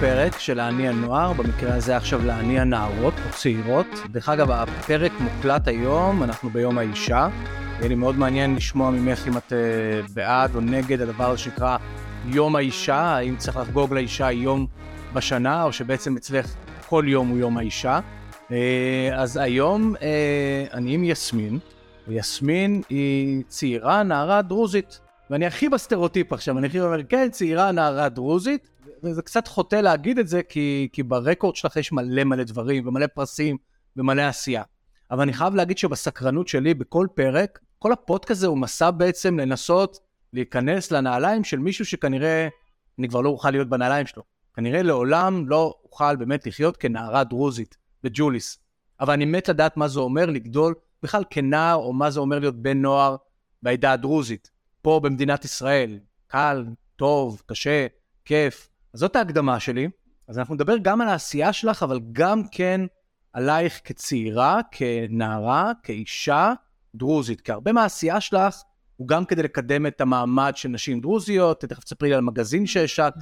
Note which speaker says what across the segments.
Speaker 1: פרק של האני הנוער, במקרה הזה עכשיו לאני הנערות או צעירות. דרך אגב, הפרק מוקלט היום, אנחנו ביום האישה. יהיה לי מאוד מעניין לשמוע ממך אם את אה, בעד או נגד הדבר שנקרא יום האישה, האם צריך לחגוג לאישה יום בשנה, או שבעצם אצלך כל יום הוא יום האישה. אה, אז היום אה, אני עם יסמין, ויסמין היא צעירה, נערה דרוזית. ואני הכי בסטריאוטיפ עכשיו, אני הכי אומר, כן, צעירה, נערה דרוזית, וזה קצת חוטא להגיד את זה, כי, כי ברקורד שלך יש מלא מלא דברים, ומלא פרסים, ומלא עשייה. אבל אני חייב להגיד שבסקרנות שלי, בכל פרק, כל הפודקאסט הזה הוא מסע בעצם לנסות להיכנס לנעליים של מישהו שכנראה, אני כבר לא אוכל להיות בנעליים שלו. כנראה לעולם לא אוכל באמת לחיות כנערה דרוזית בג'וליס. אבל אני מת לדעת מה זה אומר לגדול בכלל כנער, או מה זה אומר להיות בן נוער בעדה הדרוזית, פה במדינת ישראל. קל, טוב, קשה, כיף. אז זאת ההקדמה שלי. אז אנחנו נדבר גם על העשייה שלך, אבל גם כן עלייך כצעירה, כנערה, כאישה דרוזית. כי הרבה מהעשייה שלך הוא גם כדי לקדם את המעמד של נשים דרוזיות, תכף תספרי לי על מגזין שהשקת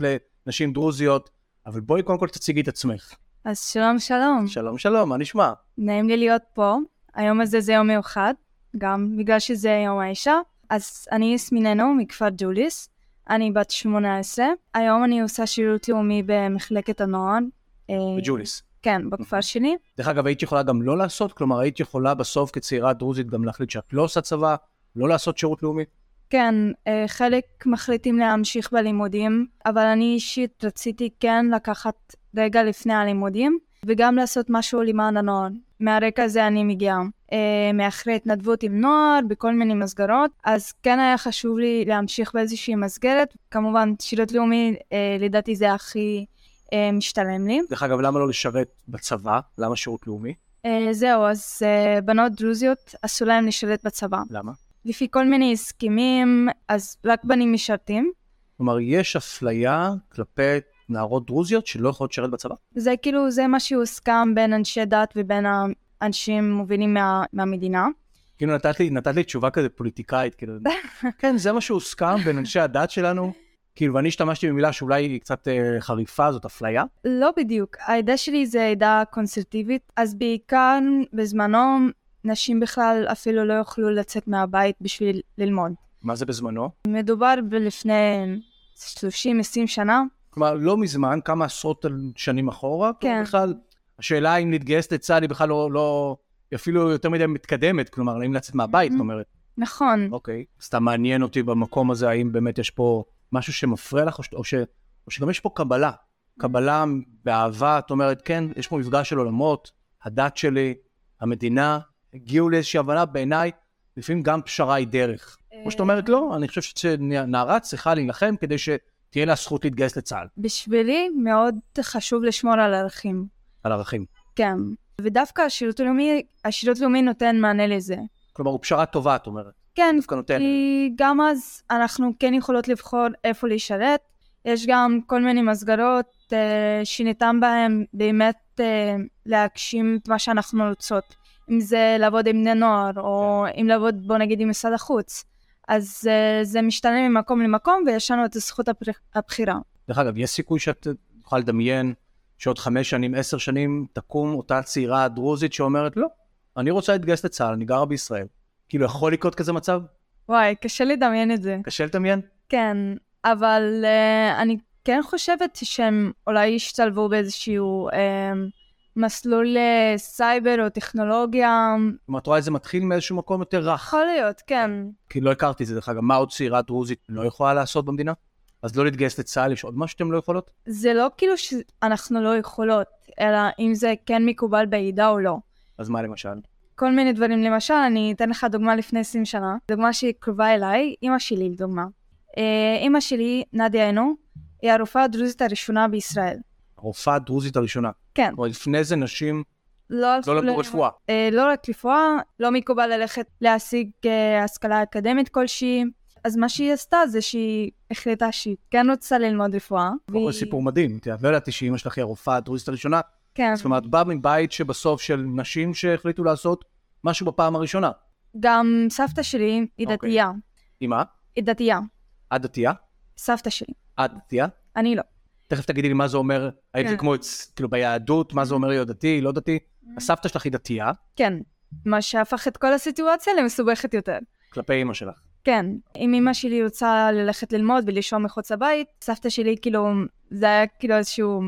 Speaker 1: לנשים דרוזיות, אבל בואי קודם כל תציגי את עצמך.
Speaker 2: אז שלום שלום,
Speaker 1: שלום, שלום, מה נשמע?
Speaker 2: נעים לי להיות פה. היום הזה זה יום מיוחד, גם בגלל שזה יום האישה. אז אני יסמיננו מכפר ג'וליס, אני בת 18. היום אני עושה שירות לאומי במחלקת הנוער. אה,
Speaker 1: בג'וליס. אוקיי.
Speaker 2: כן, בכפר שלי.
Speaker 1: דרך אגב, היית יכולה גם לא לעשות, כלומר, היית יכולה בסוף כצעירה דרוזית גם להחליט שאת לא עושה צבא, לא לעשות שירות לאומי.
Speaker 2: כן, אה, חלק מחליטים להמשיך בלימודים, אבל אני אישית רציתי כן לקחת רגע לפני הלימודים, וגם לעשות משהו למען הנוער. מהרקע הזה אני מגיעה. אה, מאחרי התנדבות עם נוער, בכל מיני מסגרות, אז כן היה חשוב לי להמשיך באיזושהי מסגרת. כמובן, שירות לאומי, אה, לדעתי זה הכי אה, משתלם לי.
Speaker 1: דרך אגב, למה לא לשרת בצבא? למה שירות לאומי?
Speaker 2: אה, זהו, אז אה, בנות דרוזיות אסור להן לשרת בצבא.
Speaker 1: למה?
Speaker 2: לפי כל מיני הסכמים, אז רק בנים משרתים.
Speaker 1: כלומר, יש אפליה כלפי נערות דרוזיות שלא יכולות לשרת בצבא?
Speaker 2: זה כאילו, זה מה שהוסכם בין אנשי דת ובין האנשים מובילים מה, מהמדינה.
Speaker 1: כאילו, נתת לי, נתת לי תשובה כזה פוליטיקאית, כאילו, כן, זה מה שהוסכם בין אנשי הדת שלנו. כאילו, ואני השתמשתי במילה שאולי היא קצת אה, חריפה, זאת אפליה.
Speaker 2: לא בדיוק. העדה שלי זה עדה קונסרטיבית, אז בעיקר בזמנו נשים בכלל אפילו לא יוכלו לצאת מהבית בשביל ללמוד.
Speaker 1: מה זה בזמנו?
Speaker 2: מדובר בלפני 30-20 שנה.
Speaker 1: כלומר, לא מזמן, כמה עשרות שנים אחורה. כלומר,
Speaker 2: כן.
Speaker 1: בכלל, השאלה אם להתגייס לצה"ל היא בכלל לא, לא, היא אפילו יותר מדי מתקדמת, כלומר, האם לצאת מהבית, זאת
Speaker 2: Mhm.
Speaker 1: אומרת.
Speaker 2: נכון.
Speaker 1: אוקיי. סתם מעניין אותי במקום הזה, האם באמת יש פה משהו שמפריע לך, או, ש... או, ש... או שגם יש פה קבלה. קבלה באהבה, את אומרת, כן, יש פה מפגש של עולמות, הדת שלי, המדינה, הגיעו לאיזושהי הבנה, בעיניי, לפעמים גם פשרה היא דרך. או שאת אומרת, לא, אני חושב שנערה צריכה להילחם כדי שתהיה לה זכות להתגייס לצה"ל,
Speaker 2: אה, בשבילי מאוד חשוב לשמור על ערכים.
Speaker 1: על ערכים.
Speaker 2: כן. ודווקא השירות הלאומי, השירות הלאומי נותן מענה לזה.
Speaker 1: כלומר, הוא פשרה טובה, את אומרת.
Speaker 2: כן,
Speaker 1: דווקא נותן.
Speaker 2: כי גם אז אנחנו כן יכולות לבחור איפה לשרת. יש גם כל מיני מסגרות אה, שניתן בהן באמת אה, להגשים את מה שאנחנו רוצות. אם זה לעבוד עם בני נוער, או אם לעבוד, בוא נגיד, עם משרד החוץ. אז אה, זה משתנה ממקום למקום, ויש לנו את זכות הבח- הבחירה.
Speaker 1: דרך אגב, יש סיכוי שאת יכולה לדמיין שעוד חמש שנים, עשר שנים, תקום אותה צעירה דרוזית שאומרת, לא, אני רוצה להתגייס לצה"ל, אני גרה בישראל. כאילו, יכול לקרות כזה מצב?
Speaker 2: וואי, קשה לדמיין את זה.
Speaker 1: קשה לדמיין?
Speaker 2: כן, אבל uh, אני כן חושבת שהם אולי ישתלבו באיזשהו um, מסלול אה, סייבר או טכנולוגיה.
Speaker 1: כלומר, את רואה את זה מתחיל מאיזשהו מקום יותר רך.
Speaker 2: יכול להיות, כן.
Speaker 1: כי לא הכרתי את זה, דרך אגב, מה עוד צעירה דרוזית לא יכולה לעשות במדינה? אז לא להתגייס לצה"ל, יש עוד משהו שאתם לא יכולות?
Speaker 2: זה לא כאילו שאנחנו לא יכולות, אלא אם זה כן מקובל בעידה או לא.
Speaker 1: אז מה למשל?
Speaker 2: כל מיני דברים. למשל, אני אתן לך דוגמה לפני 20 שנה. דוגמה שהיא קרובה אליי, אימא שלי לדוגמה. אה, אימא שלי, נדיה עינו, היא הרופאה הדרוזית הראשונה בישראל.
Speaker 1: הרופאה הדרוזית הראשונה.
Speaker 2: כן.
Speaker 1: כלומר, לפני זה נשים
Speaker 2: לא
Speaker 1: לא
Speaker 2: הלכו
Speaker 1: למדו
Speaker 2: ללמוד-
Speaker 1: רפואה.
Speaker 2: אה, לא רק רפואה, לא מקובל ללכת להשיג אה, השכלה אקדמית כלשהי. אז מה שהיא עשתה זה שהיא החליטה שהיא כן רוצה ללמוד רפואה.
Speaker 1: קודם כל, סיפור מדהים, כי לא ידעתי שאימא שלך היא הרופאה הדרוזית הראשונה,
Speaker 2: כן,
Speaker 1: זאת אומרת, בא מבית שבסוף של נשים שהחליטו לעשות משהו בפעם הראשונה.
Speaker 2: גם סבתא שלי היא
Speaker 1: אוקיי.
Speaker 2: דתייה.
Speaker 1: עם מה?
Speaker 2: היא דתייה,
Speaker 1: את דתייה?
Speaker 2: סבתא שלי.
Speaker 1: את דתייה?
Speaker 2: אני לא.
Speaker 1: תכף תגידי לי מה זה אומר, האם זה
Speaker 2: כן. Mm-hmm.
Speaker 1: כמו, אצ- כאילו ביהדות, מה זה אומר להיות דתי, לא דתי. הסבתא שלך היא דתייה,
Speaker 2: כן, מה שהפך את כל הסיטואציה למסובכת יותר.
Speaker 1: כלפי אימא שלך.
Speaker 2: כן, אם אמא שלי רוצה ללכת ללמוד ולישון מחוץ לבית, סבתא שלי כאילו, זה היה כאילו איזשהו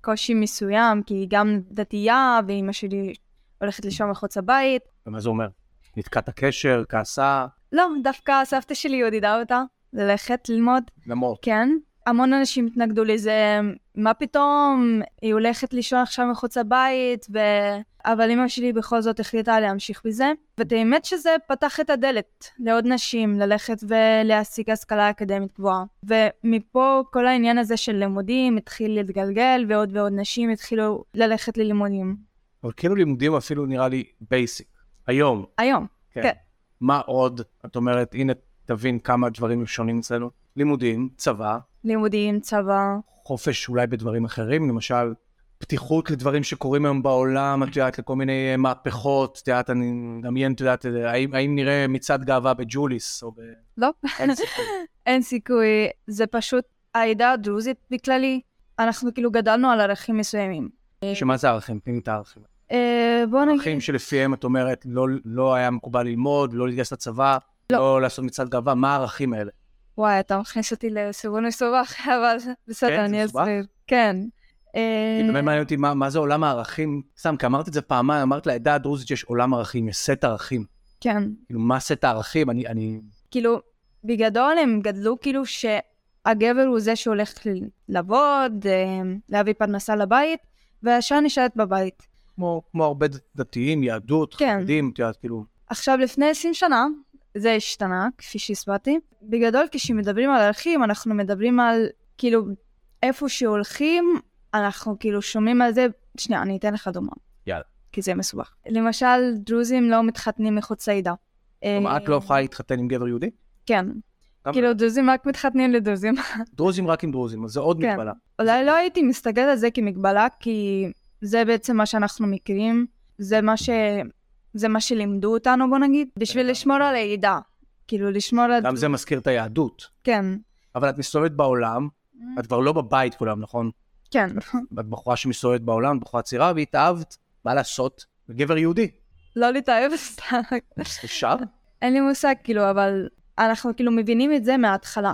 Speaker 2: קושי מסוים, כי היא גם דתייה, ואימא שלי הולכת לישון מחוץ לבית.
Speaker 1: ומה זה אומר? נתקעת קשר, כעסה,
Speaker 2: לא, דווקא סבתא שלי עודדה אותה ללכת ללמוד,
Speaker 1: למרות.
Speaker 2: כן. המון אנשים התנגדו לזה, מה פתאום, היא הולכת לישון עכשיו מחוץ לבית, ו... אבל אמא שלי בכל זאת החליטה להמשיך בזה. ובאמת שזה פתח את הדלת לעוד נשים ללכת ולהשיג השכלה אקדמית גבוהה. ומפה כל העניין הזה של לימודים התחיל להתגלגל, ועוד ועוד נשים התחילו ללכת ללימודים.
Speaker 1: אבל כאילו לימודים אפילו נראה לי בייסיק. היום,
Speaker 2: היום.
Speaker 1: כן. מה עוד? את אומרת, הנה, תבין כמה דברים שונים אצלנו. לימודים, צבא,
Speaker 2: לימודים, צבא,
Speaker 1: חופש אולי בדברים אחרים, למשל, פתיחות לדברים שקורים היום בעולם, את יודעת, לכל מיני אה, מהפכות, את יודעת, אני מדמיין, את יודעת, אה, האם, האם נראה מצעד גאווה בג'וליס, או ב...
Speaker 2: לא.
Speaker 1: אין סיכוי.
Speaker 2: אין סיכוי, זה פשוט העדה הדרוזית בכללי, אנחנו כאילו גדלנו על ערכים מסוימים.
Speaker 1: שמה זה ערכים? תני לי את הערכים.
Speaker 2: אה, בוא נגיד,
Speaker 1: ערכים שלפיהם את אומרת, לא, לא היה מקובל ללמוד, לא להתגייס לצבא, לא,
Speaker 2: לא.
Speaker 1: לעשות מצעד גאווה, מה הערכים האלה?
Speaker 2: וואי, אתה מכניס אותי לסיבון מסובך, אבל
Speaker 1: כן, זה
Speaker 2: בסדר, אני
Speaker 1: מסובך? כאילו,
Speaker 2: אסביר. כן. אה,
Speaker 1: כי באמת מעניין אותי מה, מה זה עולם הערכים, סתם, כי אמרת את זה פעמיים, אמרת לעדה הדרוזית שיש עולם ערכים, יש סט ערכים.
Speaker 2: כן.
Speaker 1: כאילו, מה סט הערכים? אני, אני,
Speaker 2: כאילו, בגדול הם גדלו כאילו שהגבר הוא זה שהולך לעבוד, אה, להביא פרנסה לבית, והאישה נשארת בבית.
Speaker 1: כמו, כמו הרבה דתיים, יהדות,
Speaker 2: כן.
Speaker 1: חרדים, את יודעת, כאילו,
Speaker 2: עכשיו, לפני 20 שנה, זה השתנה, כפי שהסברתי. בגדול, כשמדברים על ערכים, אנחנו מדברים על, כאילו, איפה שהולכים, אנחנו כאילו שומעים על זה... שנייה, אני אתן לך דוגמה.
Speaker 1: יאללה.
Speaker 2: כי זה מסובך. למשל, דרוזים לא מתחתנים מחוץ לעדה. אה,
Speaker 1: כלומר, את לא יכולה להתחתן עם גבר יהודי?
Speaker 2: כן.
Speaker 1: למה?
Speaker 2: כאילו, דרוזים רק מתחתנים לדרוזים.
Speaker 1: דרוזים רק עם דרוזים, אז זה עוד
Speaker 2: אה. כן.
Speaker 1: מגבלה.
Speaker 2: אולי לא הייתי מסתכלת על זה כמגבלה, כי זה בעצם מה שאנחנו מכירים, זה מה, ש... זה מה שלימדו אותנו, בוא נגיד, בשביל
Speaker 1: לגמרי.
Speaker 2: לשמור על העדה. כאילו, לשמור על...
Speaker 1: גם זה מזכיר את היהדות.
Speaker 2: כן.
Speaker 1: אבל את מסתובבת בעולם,
Speaker 2: אה.
Speaker 1: את כבר לא בבית כולם, נכון?
Speaker 2: כן,
Speaker 1: את בחורה שמסתובבת בעולם, את בחורה צעירה, והתאהבת, מה לעשות? גבר יהודי.
Speaker 2: לא להתאהב סתם.
Speaker 1: אפשר?
Speaker 2: אין לי מושג, כאילו, אבל אנחנו כאילו מבינים את זה מההתחלה.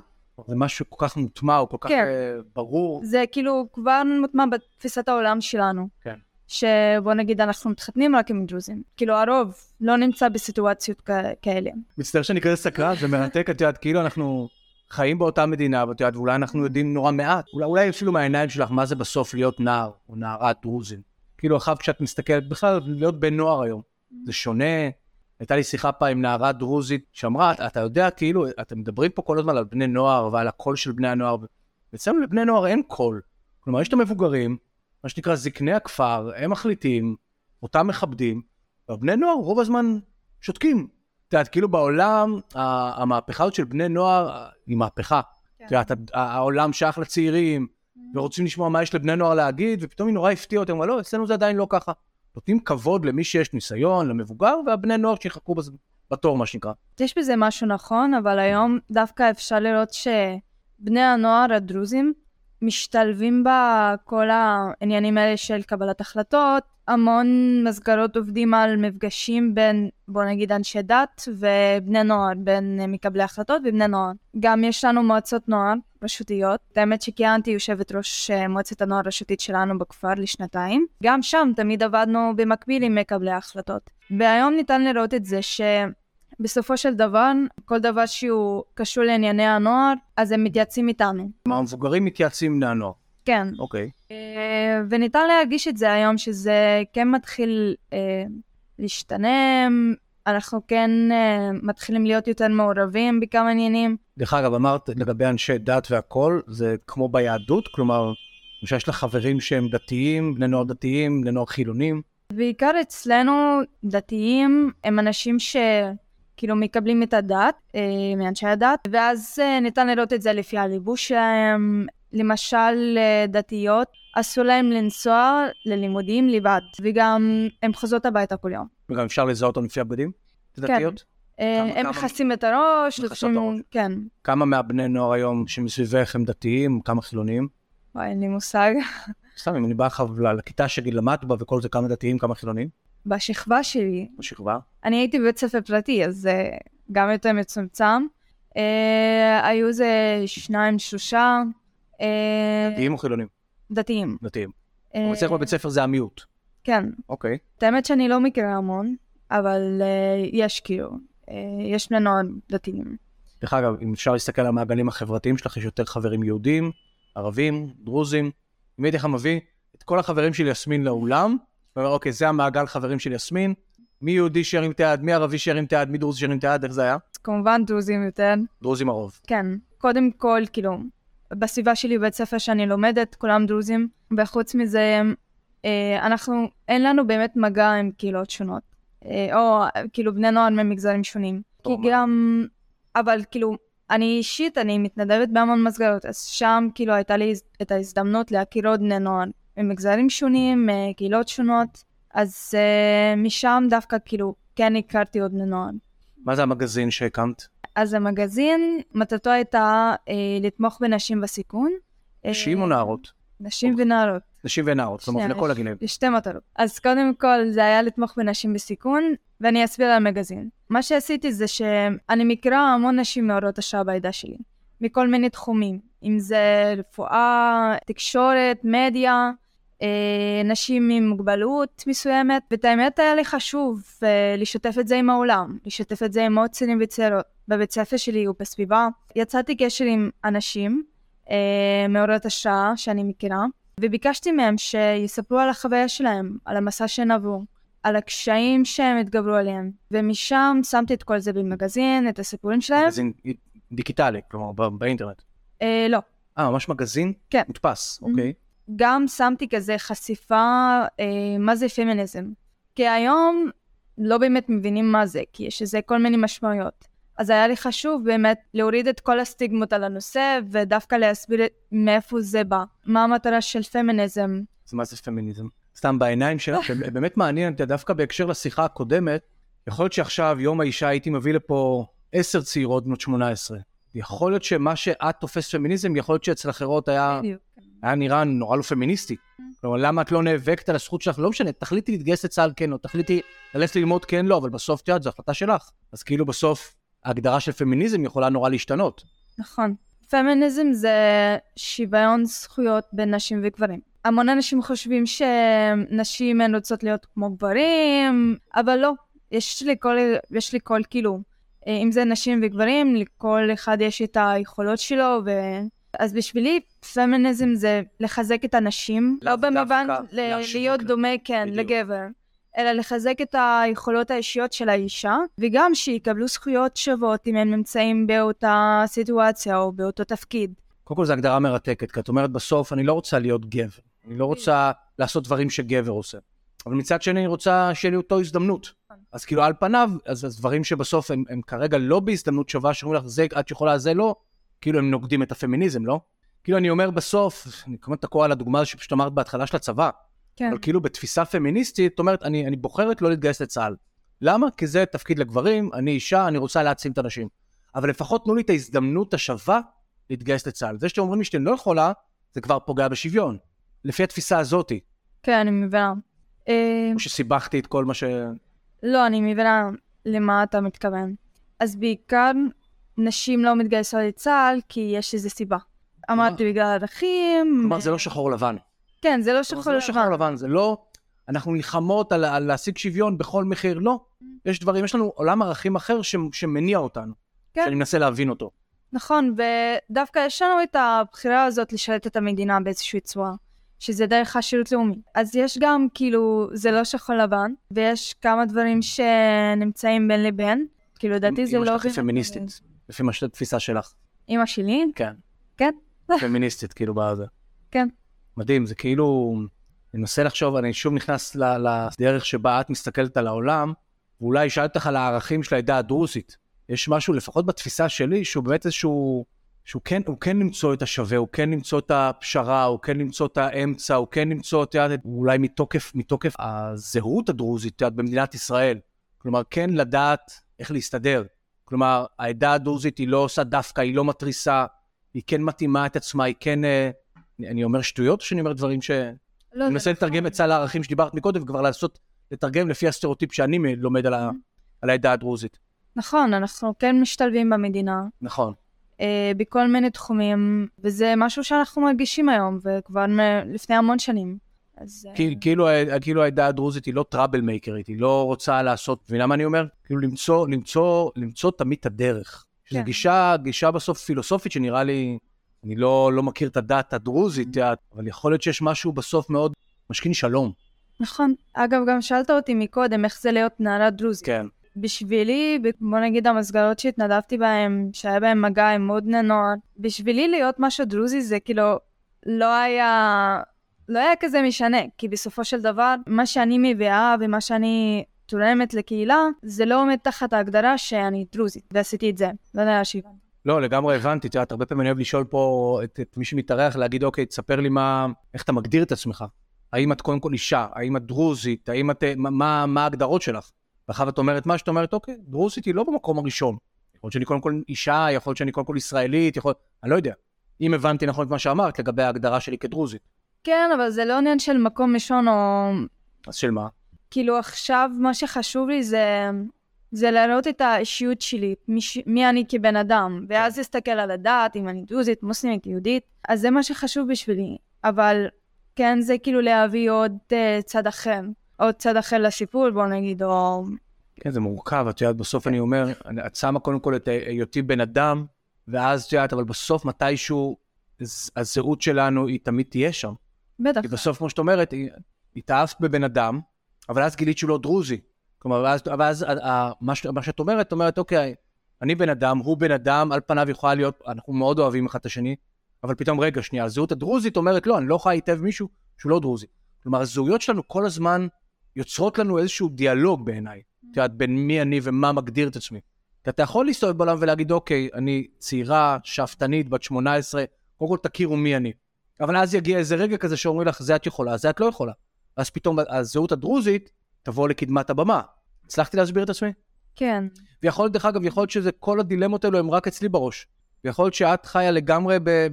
Speaker 1: זה משהו כל כך מוטמע, הוא כל כך
Speaker 2: כן.
Speaker 1: אה, ברור.
Speaker 2: זה כאילו כבר מוטמע בתפיסת העולם שלנו.
Speaker 1: כן.
Speaker 2: שבוא נגיד אנחנו מתחתנים רק עם דרוזים. כאילו הרוב לא נמצא בסיטואציות כ- כאלה.
Speaker 1: מצטער שאני כזה סקרן, זה מרתק, את יודעת, כאילו אנחנו חיים באותה מדינה, ואת יודעת, ואולי אנחנו יודעים נורא מעט, אולי, אולי אפילו מהעיניים שלך, מה זה בסוף להיות נער או נערה דרוזים. כאילו אחר כשאת מסתכלת, בכלל להיות בן נוער היום, זה שונה. הייתה לי שיחה פעם עם נערה דרוזית שאמרה, "אתה- אתה יודע, כאילו, אתם מדברים פה כל הזמן על בני נוער ועל הקול של בני הנוער, ואצלנו לבני נוער אין קול. כלומר, יש את המבוגרים, מה שנקרא זקני הכפר, הם מחליטים, אותם מכבדים, והבני נוער רוב הזמן שותקים. את יודעת, כאילו בעולם, ה- המהפכה הזאת של בני נוער אה, היא מהפכה.
Speaker 2: כן.
Speaker 1: את יודעת, ה- העולם שייך לצעירים, ורוצים לשמוע מה יש לבני נוער להגיד, ופתאום היא נורא הפתיעה אותם, אבל לא, אצלנו זה עדיין לא ככה. נותנים כבוד למי שיש ניסיון, למבוגר, והבני נוער שיחכו בז- בתור, מה שנקרא.
Speaker 2: יש בזה משהו נכון, אבל היום דווקא אפשר לראות שבני הנוער הדרוזים משתלבים בכל העניינים האלה של קבלת החלטות. המון מסגרות עובדים על מפגשים בין, בוא נגיד, אנשי דת ובני נוער, בין אה, מקבלי החלטות ובני נוער. גם יש לנו מועצות נוער רשותיות. האמת שכיהנתי יושבת ראש אה, מועצת הנוער הרשותית שלנו בכפר לשנתיים. גם שם תמיד עבדנו במקביל עם מקבלי ההחלטות. והיום ניתן לראות את זה ש... בסופו של דבר, כל דבר שהוא קשור לענייני הנוער, אז הם מתייעצים איתנו.
Speaker 1: כלומר, המבוגרים מתייעצים עם בני הנוער.
Speaker 2: כן.
Speaker 1: אוקיי.
Speaker 2: אה, וניתן להרגיש את זה היום, שזה כן מתחיל אה, להשתנם, אנחנו כן אה, מתחילים להיות יותר מעורבים בכמה עניינים.
Speaker 1: דרך אגב, אמרת לגבי אנשי דת והכול, זה כמו ביהדות, כלומר, למשל יש לך חברים שהם דתיים, בני נוער דתיים, בני נוער חילונים.
Speaker 2: בעיקר אצלנו, דתיים הם אנשים שכאילו מקבלים את הדת, אה, מאנשי הדת, ואז אה, ניתן לראות את זה לפי הליבוש שלהם. למשל, אה, דתיות, אסור להם לנסוע ללימודים לבד, וגם הם חוזרות הביתה כל יום.
Speaker 1: וגם אפשר לזהות אותם לפי הבגדים? כן. דתיות?
Speaker 2: אה,
Speaker 1: כמה-
Speaker 2: הם
Speaker 1: כמה-
Speaker 2: מכסים את הראש,
Speaker 1: מכסות את
Speaker 2: לוקחים- כן.
Speaker 1: כמה מהבני נוער היום שמסביבך הם דתיים, כמה חילונים?
Speaker 2: וואי, אין לי מושג.
Speaker 1: סתם, אם אני בא לך ל- לכיתה שלי, למדת בה וכל זה, כמה דתיים, כמה חילונים,
Speaker 2: בשכבה שלי,
Speaker 1: בשכבה.
Speaker 2: אני הייתי בבית ספר פרטי, אז זה גם יותר מצומצם. אה, היו איזה שניים, שלושה אה,
Speaker 1: דתיים או חילונים?
Speaker 2: דתיים.
Speaker 1: דתיים.
Speaker 2: אה,
Speaker 1: אבל אצלך בבית ספר זה המיעוט.
Speaker 2: כן.
Speaker 1: אוקיי.
Speaker 2: את האמת שאני לא מכירה המון, אבל אה, יש כאילו, אה, יש בני נוער דתיים.
Speaker 1: דרך אגב, אם אפשר להסתכל על המעגלים החברתיים שלך, יש יותר חברים יהודים, ערבים, דרוזים. אם הייתי לך מביא את כל החברים של יסמין לאולם, ואומר, אוקיי, זה המעגל חברים של יסמין, מי יהודי שירים את היד, מי ערבי שירים את היד, מי דרוזי שירים את היד, איך זה היה?
Speaker 2: אז כמובן דרוזים יותר,
Speaker 1: דרוזים הרוב.
Speaker 2: כן. קודם כל, כאילו, בסביבה שלי בבית ספר שאני לומדת, כולם דרוזים, וחוץ מזה, אה, אנחנו, אין לנו באמת מגע עם קהילות שונות, אה, או אה, כאילו בני נוער ממגזרים שונים. כי
Speaker 1: טוב, מה?
Speaker 2: גם, אבל כאילו, אני אישית, אני מתנדבת בהמון מסגרות, אז שם כאילו הייתה לי את ההזדמנות להכיר עוד בני נוער ממגזרים שונים, מקהילות שונות, אז אה, משם דווקא כאילו כן הכרתי עוד בני נוער.
Speaker 1: מה זה המגזין שהקמת?
Speaker 2: אז המגזין, מטרתו הייתה אה, לתמוך בנשים בסיכון. אה,
Speaker 1: נשים או נערות?
Speaker 2: נשים ונערות,
Speaker 1: נשים ונערות, זאת אומרת,
Speaker 2: שנייה,
Speaker 1: לכל הגילים.
Speaker 2: יש שתי מטרות. אז קודם כל זה היה לתמוך בנשים בסיכון, ואני אסביר על המגזין. מה שעשיתי זה שאני מכירה המון נשים מעוררות השראה בעדה שלי, מכל מיני תחומים, אם זה רפואה, תקשורת, מדיה. אה, נשים עם מוגבלות מסוימת, ואת האמת היה לי חשוב אה, לשתף את זה עם העולם, לשתף את זה עם עוד צעירים וצעירות בבית ספר שלי ובסביבה. יצרתי קשר עם אנשים אה, מעוררת השראה שאני מכירה, וביקשתי מהם שיספרו על החוויה שלהם, על המסע שהם עברו, על הקשיים שהם התגברו עליהם, ומשם שמתי את כל זה במגזין, את הסיפורים שלהם.
Speaker 1: מגזין דיגיטלי, כלומר, ב- באינטרנט.
Speaker 2: אה, לא,
Speaker 1: אה, ממש מגזין?
Speaker 2: כן.
Speaker 1: מודפס, אוקיי.
Speaker 2: גם שמתי כזה חשיפה, אה, מה זה פמיניזם. כי היום לא באמת מבינים מה זה, כי יש לזה כל מיני משמעויות. אז היה לי חשוב באמת להוריד את כל הסטיגמות על הנושא, ודווקא להסביר את- מאיפה זה בא. מה המטרה של פמיניזם?
Speaker 1: אז מה זה פמיניזם? סתם בעיניים שלך, שבאמת מעניין, אתה יודע, דווקא בהקשר לשיחה הקודמת, יכול להיות שעכשיו, יום האישה, הייתי מביא לפה עשר צעירות בנות 18. יכול להיות שמה שאת תופס פמיניזם, יכול להיות שאצל אחרות היה, היה נראה נורא לא פמיניסטי. כלומר, למה את לא נאבקת על הזכות שלך? לא משנה, תחליטי להתגייס לצה"ל כן, או תחליטי ללכת ללמוד כן, לא, אבל בסוף, את יודעת, זו החלטה שלך. אז כאילו בסוף, ההגדרה של פמיניזם יכולה נורא להשתנות.
Speaker 2: נכון. פמיניזם זה שוויון זכויות בין נשים וגברים. המון אנשים חושבים שנשים הן רוצות להיות כמו גברים, אבל לא. יש לכל, יש לכל כאילו, אה, אם זה נשים וגברים, לכל אחד יש את היכולות שלו, ו... אז בשבילי פמיניזם זה לחזק את הנשים,
Speaker 1: לאו
Speaker 2: לא במובן
Speaker 1: דווקא
Speaker 2: ל-
Speaker 1: להשוות
Speaker 2: להיות
Speaker 1: לה-
Speaker 2: דומה, כן,
Speaker 1: בדיוק.
Speaker 2: לגבר, אלא לחזק את היכולות האישיות של האישה, וגם שיקבלו זכויות שוות אם הם נמצאים באותה סיטואציה או באותו תפקיד.
Speaker 1: קודם כל זו הגדרה מרתקת, כי את אומרת בסוף, אני לא רוצה להיות גבר. אני לא רוצה לעשות דברים שגבר עושה. אבל מצד שני, אני רוצה שיהיה לי אותו הזדמנות. אז כאילו, על פניו, אז אז דברים שבסוף הם, הם כרגע לא בהזדמנות שווה, שאומרים לך, זה את יכולה, זה לא, כאילו הם נוגדים את הפמיניזם, לא? כאילו, אני אומר בסוף, אני כמובן תקוע על הדוגמה הזו שפשוט אמרת בהתחלה של הצבא,
Speaker 2: כן.
Speaker 1: אבל כאילו בתפיסה פמיניסטית, את אומרת, אני, אני בוחרת לא להתגייס לצה"ל. למה? כי זה תפקיד לגברים, אני אישה, אני רוצה להעצים את הנשים. אבל לפחות תנו לי את ההזדמנות השווה להתגייס לצה"ל. זה שאתם אומרים לי שאתם לא יכולה, זה כבר פוגע בשוויון. לפי התפיסה הזאתי,
Speaker 2: כן, אני מבינה. אה,
Speaker 1: כמו שסיבכתי את כל מה ש...
Speaker 2: לא, אני מבינה למה אתה מתכוון. אז בעיקר נשים לא מתגייסות לצה"ל כי יש איזה סיבה. אמרתי בגלל ערכים.
Speaker 1: אה. כלומר, זה לא שחור לבן.
Speaker 2: כן, זה לא
Speaker 1: כלומר,
Speaker 2: שחור
Speaker 1: זה לא שחור לבן, זה לא... אנחנו נלחמות על, על להשיג שוויון בכל מחיר, לא. יש דברים, יש לנו עולם ערכים אחר ש, שמניע אותנו.
Speaker 2: כן.
Speaker 1: שאני מנסה להבין אותו.
Speaker 2: נכון, ודווקא יש לנו את הבחירה הזאת לשרת את המדינה באיזושהי צורה, שזה דרך השירות לאומי. אז יש גם, כאילו, זה לא שחור לבן, ויש כמה דברים שנמצאים בין לבין. כאילו, לדעתי זה לא...
Speaker 1: אמא שלך היא פמיניסטית, לפי מה שהתפיסה שלך.
Speaker 2: אמא שלי?
Speaker 1: כן.
Speaker 2: כן?
Speaker 1: פמיניסטית, כאילו, בזה.
Speaker 2: כן.
Speaker 1: מדהים, זה כאילו... אני מנסה לחשוב, אני שוב נכנס ל- לדרך שבה את מסתכלת על העולם, ואולי אשאל אותך על הערכים של העדה הדרוזית. יש משהו, לפחות בתפיסה שלי, שהוא באמת איזשהו... שהוא כן, הוא כן למצוא את השווה, הוא כן למצוא את הפשרה, הוא כן למצוא את האמצע, הוא כן למצוא, את יודעת, אולי מתוקף, מתוקף הזהות הדרוזית, את יודעת, במדינת ישראל. כלומר, כן לדעת איך להסתדר. כלומר, העדה הדרוזית היא לא עושה דווקא, היא לא מתריסה, היא כן מתאימה את עצמה, היא כן אה, אני, אני אומר שטויות או שאני אומר דברים ש...
Speaker 2: לא,
Speaker 1: אני
Speaker 2: זה
Speaker 1: מנסה
Speaker 2: נכון.
Speaker 1: לתרגם את סל הערכים שדיברת מקודם, וכבר לעשות, לתרגם לפי הסטריאוטיפ שאני מ- לומד על, ה, על העדה הדרוזית.
Speaker 2: נכון, אנחנו כן משתלבים במדינה,
Speaker 1: נכון.
Speaker 2: אה, בכל מיני תחומים, וזה משהו שאנחנו מרגישים היום, וכבר מ- לפני המון שנים. אז... אה,
Speaker 1: כי- כאילו, ה- כאילו העדה הדרוזית היא לא טראבל מייקרית, היא לא רוצה לעשות, מבינה מה אני אומר? כאילו למצוא, למצוא, למצוא תמיד את הדרך. שזו
Speaker 2: כן.
Speaker 1: גישה, גישה בסוף פילוסופית שנראה לי, אני לא, לא מכיר את הדת הדרוזית, אבל יכול להיות שיש משהו בסוף מאוד משכין שלום.
Speaker 2: נכון. אגב, גם שאלת אותי מקודם איך זה להיות נערה דרוזית.
Speaker 1: כן.
Speaker 2: בשבילי, ב- בוא נגיד המסגרות שהתנדבתי בהן, שהיה בהן מגע עם עוד בני נוער, בשבילי להיות משהו דרוזי זה כאילו לא היה, לא היה כזה משנה, כי בסופו של דבר, מה שאני מביאה ומה שאני תורמת לקהילה, זה לא עומד תחת ההגדרה שאני דרוזית, ועשיתי את זה. לא יודע שהיא...
Speaker 1: לא, לגמרי הבנתי. את יודעת, הרבה פעמים אני אוהב לשאול פה את, את מי שמתארח, להגיד, אוקיי, תספר לי מה, איך אתה מגדיר את עצמך. האם את קודם כל אישה? האם את דרוזית? האם את... מה- מה, מה ההגדרות שלך? ואחר את אומרת מה שאת אומרת, אוקיי, דרוזית היא לא במקום הראשון. יכול להיות שאני קודם כל אישה, יכול להיות שאני קודם כל ישראלית, יכול... אני לא יודע. אם הבנתי נכון את מה שאמרת לגבי ההגדרה שלי כדרוזית,
Speaker 2: כן, אבל זה לא עניין של מקום ראשון או
Speaker 1: אז של מה?
Speaker 2: כאילו עכשיו מה שחשוב לי זה, זה להראות את האישיות שלי, מי, ש- מי אני כבן אדם,
Speaker 1: כן.
Speaker 2: ואז להסתכל על הדת, אם אני דרוזית, מוסלמית, יהודית, אז זה מה שחשוב בשבילי. אבל כן, זה כאילו להביא עוד uh, צד אחר, עוד צד אחר לסיפור, בוא נגיד, או...
Speaker 1: כן, זה מורכב, את יודעת, בסוף אני אומר, אני- את שמה קודם כל את היותי בן אדם, ואז את יודעת, אבל בסוף מתישהו הז- הזהות שלנו היא תמיד תהיה שם.
Speaker 2: בטח.
Speaker 1: כי בסוף, כמו שאת אומרת, היא- התאהבת בבן אדם, אבל אז גילית שהוא לא דרוזי. כלומר, ואז, ואז ה- ה- מה, ש, מה שאת אומרת, את אומרת, אוקיי, אני בן אדם, הוא בן אדם, על פניו יכולה להיות, אנחנו מאוד אוהבים אחד את השני, אבל פתאום, רגע, שנייה, הזהות הדרוזית אומרת, לא, אני לא יכולה היטב מישהו שהוא לא דרוזי. כלומר, הזהויות שלנו כל הזמן יוצרות לנו איזשהו דיאלוג בעיניי. את יודעת, בין מי אני ומה מגדיר את עצמי. כי אתה יכול להסתובב בעולם ולהגיד, אוקיי, אני צעירה, שאפתנית, בת 18, קודם כל תכירו מי אני. אבל אז יגיע איזה רגע כזה שאומרים לך, זה את יכולה, זה את לא יכולה. אז פתאום הזהות הדרוזית תבוא לקדמת הבמה. הצלחתי להסביר את עצמי?
Speaker 2: כן.
Speaker 1: ויכול להיות, דרך אגב, יכול להיות שזה, כל הדילמות האלו הן רק אצלי בראש. ויכול להיות שאת חיה לגמרי ב-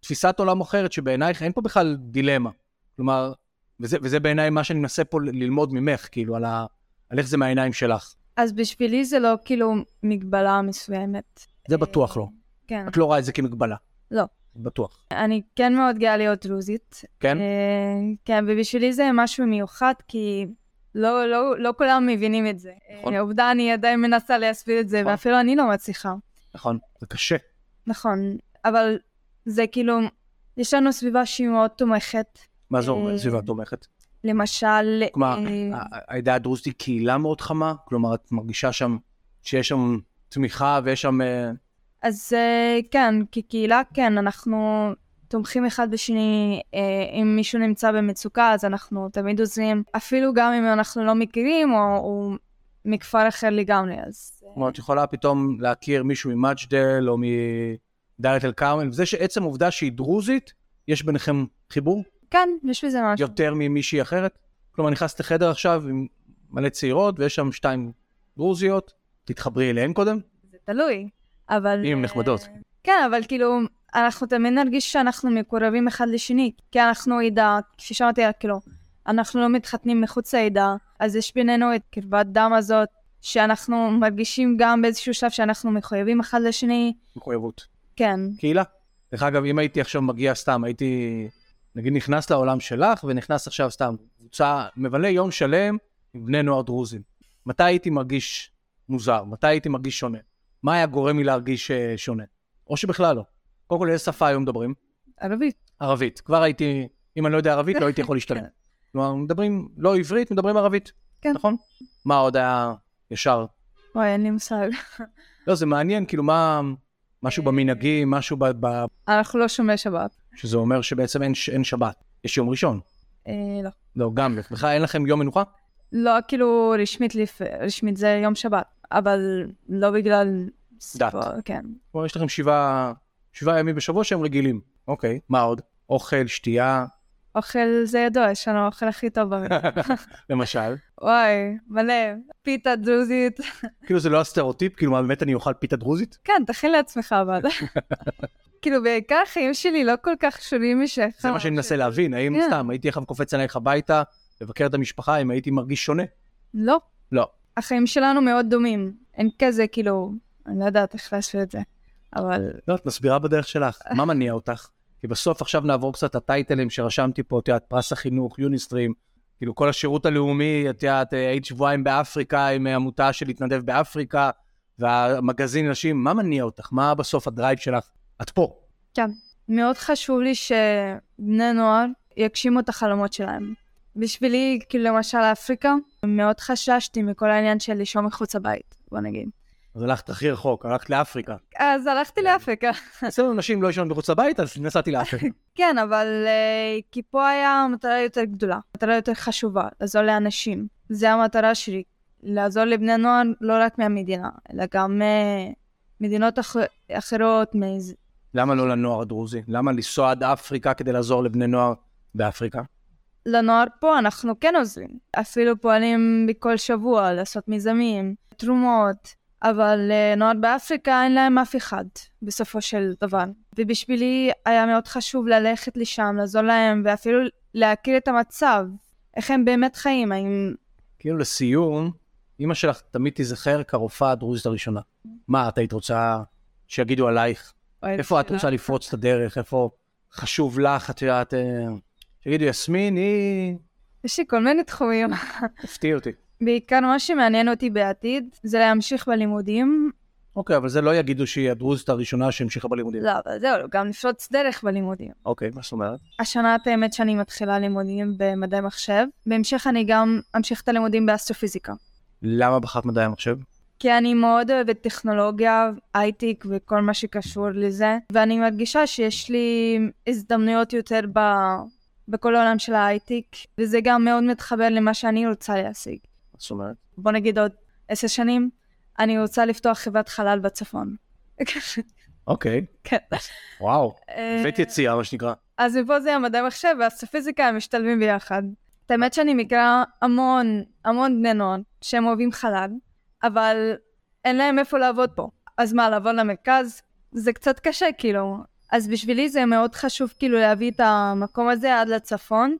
Speaker 1: בתפיסת עולם אחרת, שבעינייך אין פה בכלל דילמה. כלומר, וזה, וזה בעיניי מה שאני מנסה פה ל- ללמוד ממך, כאילו, על, ה, על איך זה מהעיניים שלך.
Speaker 2: אז בשבילי זה לא כאילו מגבלה מסוימת.
Speaker 1: זה בטוח לא.
Speaker 2: כן.
Speaker 1: את לא רואה את זה כמגבלה.
Speaker 2: לא.
Speaker 1: בטוח.
Speaker 2: אני כן מאוד גאה להיות דרוזית,
Speaker 1: כן?
Speaker 2: אה, כן, ובשבילי זה משהו מיוחד, כי לא, לא, לא כולם מבינים את זה.
Speaker 1: נכון.
Speaker 2: אה, עובדה, אני עדיין מנסה להסביר את זה,
Speaker 1: נכון.
Speaker 2: ואפילו אני לא מצליחה.
Speaker 1: נכון. זה קשה.
Speaker 2: נכון, אבל זה כאילו, יש לנו סביבה שהיא מאוד תומכת.
Speaker 1: מה זה אומר?
Speaker 2: אה,
Speaker 1: סביבה תומכת.
Speaker 2: למשל,
Speaker 1: כלומר,
Speaker 2: אה,
Speaker 1: ה- העדה הדרוזית היא קהילה מאוד חמה, כלומר, את מרגישה שם, שיש שם תמיכה ויש שם... אה,
Speaker 2: אז אה, כן, כקהילה, כן, אנחנו תומכים אחד בשני. אה, אם מישהו נמצא במצוקה, אז אנחנו תמיד עוזרים. אפילו גם אם אנחנו לא מכירים, או הוא מכפר אחר לגמרי, אז... אה,
Speaker 1: כלומר, את יכולה פתאום להכיר מישהו ממג'דל או מדאלית אל כרמל, וזה שעצם העובדה שהיא דרוזית, יש ביניכם חיבור
Speaker 2: כן, יש בזה משהו.
Speaker 1: יותר ממישהי אחרת? כלומר, נכנסת לחדר עכשיו עם מלא צעירות ויש שם שתיים דרוזיות, תתחברי אליהן קודם,
Speaker 2: זה תלוי, אבל... אה,
Speaker 1: אם הן נחמדות.
Speaker 2: כן, אבל כאילו, אנחנו תמיד נרגיש שאנחנו מקורבים אחד לשני, כי אנחנו עדה, כפי שאמרתי, כאילו, אנחנו לא מתחתנים מחוץ לעדה, אז יש בינינו את קרבת דם הזאת, שאנחנו מרגישים גם באיזשהו שלב שאנחנו מחויבים אחד לשני,
Speaker 1: מחויבות.
Speaker 2: כן.
Speaker 1: קהילה. דרך אגב, אם הייתי עכשיו מגיע סתם, הייתי, נגיד, נכנס לעולם שלך, ונכנס עכשיו סתם, קבוצה, מבלה יום שלם עם בני נוער דרוזים. מתי הייתי מרגיש מוזר? מתי הייתי מרגיש שונה? מה היה גורם לי להרגיש אה, שונה? או שבכלל לא. קודם כל, איזה שפה היום מדברים?
Speaker 2: ערבית.
Speaker 1: ערבית. כבר הייתי, אם אני לא יודע ערבית, לא הייתי יכול להשתלם. כלומר, מדברים לא עברית, מדברים ערבית.
Speaker 2: כן.
Speaker 1: נכון? מה עוד היה ישר?
Speaker 2: וואי, אין לי מושג.
Speaker 1: לא, זה מעניין, כאילו, מה... משהו במנהגים, משהו ב... ב-
Speaker 2: אנחנו לא שומרי שבת.
Speaker 1: שזה אומר שבעצם אין, ש- אין שבת, יש יום ראשון.
Speaker 2: אה, לא.
Speaker 1: לא, גם, בכלל אין לכם יום מנוחה?
Speaker 2: לא, כאילו, רשמית, לפ- רשמית זה יום שבת, אבל לא בגלל...
Speaker 1: דת.
Speaker 2: כן.
Speaker 1: כלומר, יש לכם שבעה שבעה ימים בשבוע שהם רגילים. אוקיי, מה עוד? אוכל, שתייה,
Speaker 2: אוכל זה ידוע, יש לנו האוכל הכי טוב במדינה.
Speaker 1: למשל?
Speaker 2: וואי, מלא, פיתה דרוזית.
Speaker 1: כאילו זה לא הסטריאוטיפ? כאילו מה, באמת אני אוכל פיתה דרוזית?
Speaker 2: כן, תכין לעצמך אבל. כאילו בעיקר החיים שלי לא כל כך שונים משלך.
Speaker 1: זה מה שאני מנסה להבין, האם
Speaker 2: אה, אוקיי. כן.
Speaker 1: סתם הייתי עכשיו קופץ עלייך הביתה, לבקר את המשפחה, אם הייתי מרגיש שונה?
Speaker 2: לא.
Speaker 1: לא.
Speaker 2: החיים שלנו מאוד דומים. אין כזה, כאילו, אני לא יודעת איך להשאיר את זה. אבל
Speaker 1: לא, את מסבירה בדרך שלך. מה מניע אותך? כי בסוף עכשיו נעבור קצת הטייטלים שרשמתי פה, את יודעת, פרס החינוך, יוניסטרים, כאילו כל השירות הלאומי, את יודעת, אה, היית שבועיים באפריקה עם אה, עמותה של להתנדב באפריקה, והמגזין נשים, מה מניע אותך? מה בסוף הדרייב שלך? את פה.
Speaker 2: מאוד חשוב לי שבני נוער יגשימו את החלומות שלהם. בשבילי, כאילו למשל אפריקה, מאוד חששתי מכל העניין של לישון מחוץ לבית, בוא נגיד.
Speaker 1: אז הלכת הכי רחוק, הלכת לאפריקה.
Speaker 2: אז
Speaker 1: כן.
Speaker 2: הלכתי לאפריקה.
Speaker 1: אצלנו נשים לא ישנות מחוץ לבית, אז נסעתי לאפריקה.
Speaker 2: כן, אבל אה, כי פה היה מטרה יותר גדולה, מטרה יותר חשובה, לעזור לאנשים. זו המטרה שלי, לעזור לבני נוער לא רק מהמדינה, אלא גם ממדינות אח... אחרות, מאיז...
Speaker 1: למה לא לנוער הדרוזי? למה לנסוע עד אפריקה כדי לעזור לבני נוער באפריקה?
Speaker 2: לנוער פה אנחנו כן עוזרים. אפילו פועלים בכל שבוע לעשות מיזמים, תרומות, אבל אה, נוער באפריקה אין להם אף אחד, בסופו של דבר. ובשבילי היה מאוד חשוב ללכת לשם, לעזור להם, ואפילו להכיר את המצב, איך הם באמת חיים, האם...
Speaker 1: כאילו לסיום, אימא שלך תמיד תיזכר כרופאה הדרוזית הראשונה. מה, את היית רוצה שיגידו עלייך? איפה את רוצה לפרוץ את הדרך? איפה חשוב לך? את יודעת... אה, שיגידו, יסמין, היא...
Speaker 2: יש לי כל מיני תחומים.
Speaker 1: הפתיע אותי.
Speaker 2: בעיקר מה שמעניין אותי בעתיד, זה להמשיך בלימודים.
Speaker 1: אוקיי, אבל זה לא יגידו שהיא הדרוזית הראשונה שהמשיכה בלימודים.
Speaker 2: לא, אבל זהו, גם לפרוץ דרך בלימודים.
Speaker 1: אוקיי, מה זאת אומרת?
Speaker 2: השנה את האמת שאני מתחילה לימודים במדעי מחשב. בהמשך אני גם אמשיך את הלימודים באסטרופיזיקה.
Speaker 1: למה בחרת מדעי המחשב?
Speaker 2: כי אני מאוד אוהבת טכנולוגיה, הייטק וכל מה שקשור לזה, ואני מרגישה שיש לי הזדמנויות יותר ב... בכל העולם של ההייטק, וזה גם מאוד מתחבר למה שאני רוצה להשיג.
Speaker 1: מה זאת אומרת?
Speaker 2: בוא נגיד עוד עשר שנים, אני רוצה לפתוח חברת חלל בצפון.
Speaker 1: אוקיי,
Speaker 2: כן.
Speaker 1: וואו.
Speaker 2: אה,
Speaker 1: בית יציאה, מה שנקרא.
Speaker 2: אז מפה זה המדעי מחשב והאסטרופיזיקה, הם משתלבים ביחד. את האמת שאני מכירה המון, המון בני נוער שהם אוהבים חלל, אבל אין להם איפה לעבוד פה. אז מה, לעבור למרכז? זה קצת קשה, כאילו. אז בשבילי זה מאוד חשוב, כאילו, להביא את המקום הזה עד לצפון,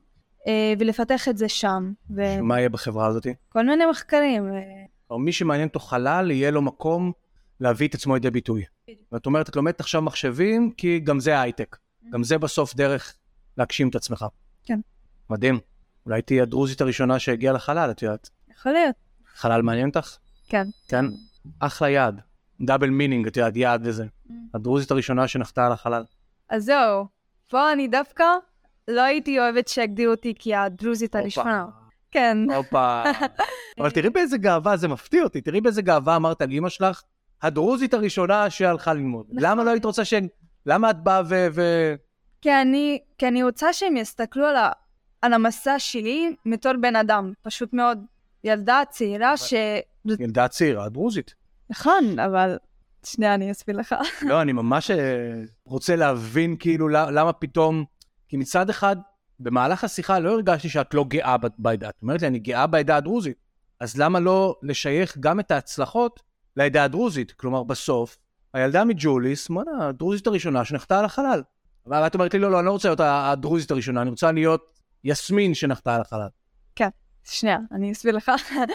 Speaker 2: אה, ולפתח את זה שם. וכל
Speaker 1: מה יהיה בחברה הזאת?
Speaker 2: מיני מחקרים. אה,
Speaker 1: או מי שמעניין אותו חלל, יהיה לו מקום להביא את עצמו לידי ביטוי. ואת אומרת, את לומדת עכשיו מחשבים, כי גם זה הייטק. גם זה בסוף דרך להגשים את עצמך.
Speaker 2: Mm-hmm. כן.
Speaker 1: מדהים. אולי תהיי הדרוזית הראשונה שהגיעה לחלל, את יודעת.
Speaker 2: יכול להיות.
Speaker 1: חלל מעניין אותך?
Speaker 2: כן.
Speaker 1: כן. אחלה יעד. דאבל מינינג, את יודעת, יעד וזה. הדרוזית הראשונה שנחתה על החלל.
Speaker 2: אז זהו. פה אני דווקא לא הייתי אוהבת שיגדירו אותי כהדרוזית הראשונה. כן.
Speaker 1: הופה. אבל תראי באיזה גאווה, זה מפתיע אותי, תראי באיזה גאווה אמרת על אימא שלך, הדרוזית הראשונה שהלכה ללמוד.
Speaker 2: נכון.
Speaker 1: למה לא היית רוצה ש... למה את באה ו... ו-
Speaker 2: כי אני, כי אני רוצה שהם יסתכלו על, ה, על המסע שלי בתור בן אדם, פשוט מאוד. ילדה צעירה ש...
Speaker 1: ילדה צעירה, דרוזית.
Speaker 2: נכון, אבל... שנייה, אני אסביר לך.
Speaker 1: לא, אני ממש אה, רוצה להבין כאילו ל- למה פתאום... כי מצד אחד, במהלך השיחה לא הרגשתי שאת לא גאה ב- בעדה. את אומרת לי, אני גאה בעדה הדרוזית. אז למה לא לשייך גם את ההצלחות לעדה הדרוזית? כלומר, בסוף, הילדה מג'וליס, מונה, הדרוזית הראשונה שנחתה על החלל. אבל את אומרת לי, לא, לא, אני לא רוצה להיות ה- הדרוזית הראשונה, אני רוצה להיות יסמין שנחתה על החלל.
Speaker 2: שנייה, אני אסביר לך.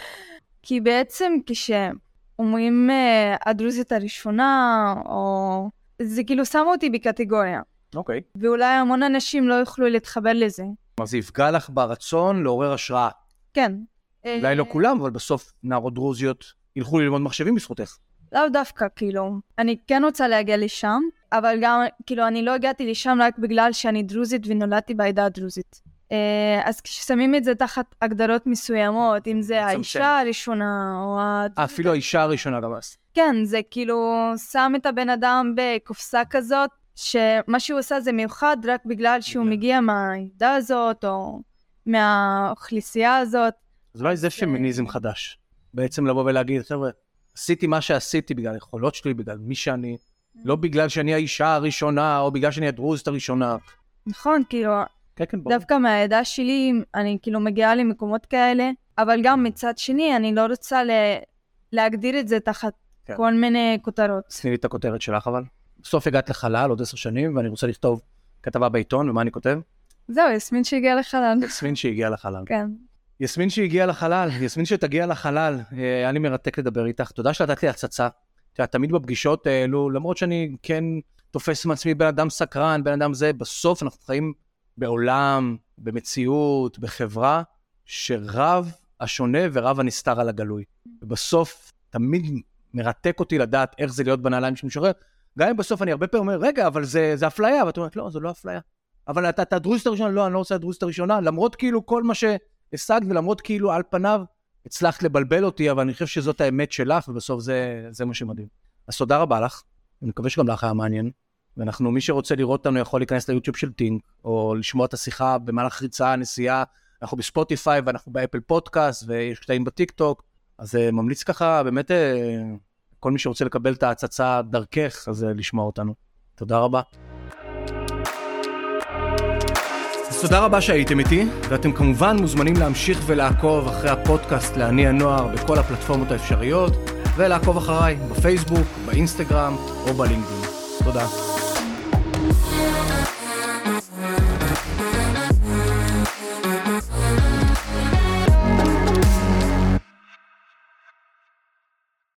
Speaker 2: כי בעצם כשאומרים אה, הדרוזית הראשונה, או... זה כאילו שם אותי בקטגוריה,
Speaker 1: אוקיי.
Speaker 2: ואולי המון אנשים לא יוכלו להתחבר לזה.
Speaker 1: כלומר, זה יפגע לך ברצון לעורר השראה.
Speaker 2: כן.
Speaker 1: אולי לא כולם, אבל בסוף נערות דרוזיות ילכו ללמוד מחשבים בזכותך.
Speaker 2: לאו דווקא, כאילו. אני כן רוצה להגיע לשם, אבל גם, כאילו, אני לא הגעתי לשם רק בגלל שאני דרוזית ונולדתי בעדה הדרוזית. אה, אז כששמים את זה תחת הגדרות מסוימות, אם זה
Speaker 1: מצמצם.
Speaker 2: האישה הראשונה, או ה...
Speaker 1: אה, אפילו האישה הראשונה גם אז.
Speaker 2: כן, זה כאילו שם את הבן אדם בקופסה כזאת, שמה שהוא עושה זה מיוחד רק בגלל שהוא
Speaker 1: בגלל.
Speaker 2: מגיע מהעדה הזאת, או מהאוכלוסייה הזאת.
Speaker 1: אז אולי זה פמיניזם חדש. בעצם לבוא ולהגיד, חבר'ה, עשיתי מה שעשיתי בגלל היכולות שלי, בגלל מי שאני, לא בגלל שאני האישה הראשונה, או בגלל שאני הדרוזית הראשונה.
Speaker 2: נכון, כאילו,
Speaker 1: כן, כן, ברור.
Speaker 2: דווקא מהעדה שלי, אני כאילו מגיעה למקומות כאלה, אבל גם מצד שני, אני לא רוצה ל... להגדיר את זה תחת
Speaker 1: כן.
Speaker 2: כל מיני כותרות.
Speaker 1: תני לי את הכותרת שלך אבל. בסוף הגעת לחלל עוד עשר שנים, ואני רוצה לכתוב כתבה בעיתון, ומה אני כותב?
Speaker 2: זהו, יסמין שהגיעה לחלל.
Speaker 1: יסמין שהגיעה לחלל.
Speaker 2: כן.
Speaker 1: יסמין שהגיעה לחלל, יסמין שתגיע לחלל, אה, היה לי מרתק לדבר איתך, תודה שנתת לי הצצה. את יודעת, תמיד בפגישות האלו, למרות שאני כן תופס מעצמי בן אדם סקרן, בן אדם זה, בסוף אנחנו חיים בעולם, במציאות, בחברה, שרב השונה ורב הנסתר על הגלוי. ובסוף תמיד מרתק אותי לדעת איך זה להיות בנעליים של משורר, גם אם בסוף אני הרבה פעמים אומר, רגע, אבל זה, זה אפליה, ואת אומרת, לא, זו לא אפליה. אבל אתה, אתה הדרוזית הראשונה, לא, אני לא רוצה הדרוזית הראשונה, למרות כאילו כל מה ש... השגת, ולמרות כאילו על פניו הצלחת לבלבל אותי, אבל אני חושב שזאת האמת שלך, ובסוף זה, זה מה שמדהים. אז תודה רבה לך, אני מקווה שגם לך היה מעניין. ואנחנו, מי שרוצה לראות אותנו יכול להיכנס ליוטיוב של טינק, או לשמוע את השיחה במהלך ריצה, נסיעה, אנחנו בספוטיפיי ואנחנו באפל פודקאסט, ויש קטעים בטיקטוק, אז אה, ממליץ ככה, באמת, אה, כל מי שרוצה לקבל את ההצצה דרכך, אז אה, לשמוע אותנו. תודה רבה. אז תודה רבה שהייתם איתי, ואתם כמובן מוזמנים להמשיך ולעקוב אחרי הפודקאסט לעני הנוער בכל הפלטפורמות האפשריות, ולעקוב אחריי בפייסבוק, באינסטגרם או בלינקדאין. תודה.
Speaker 3: Yeah.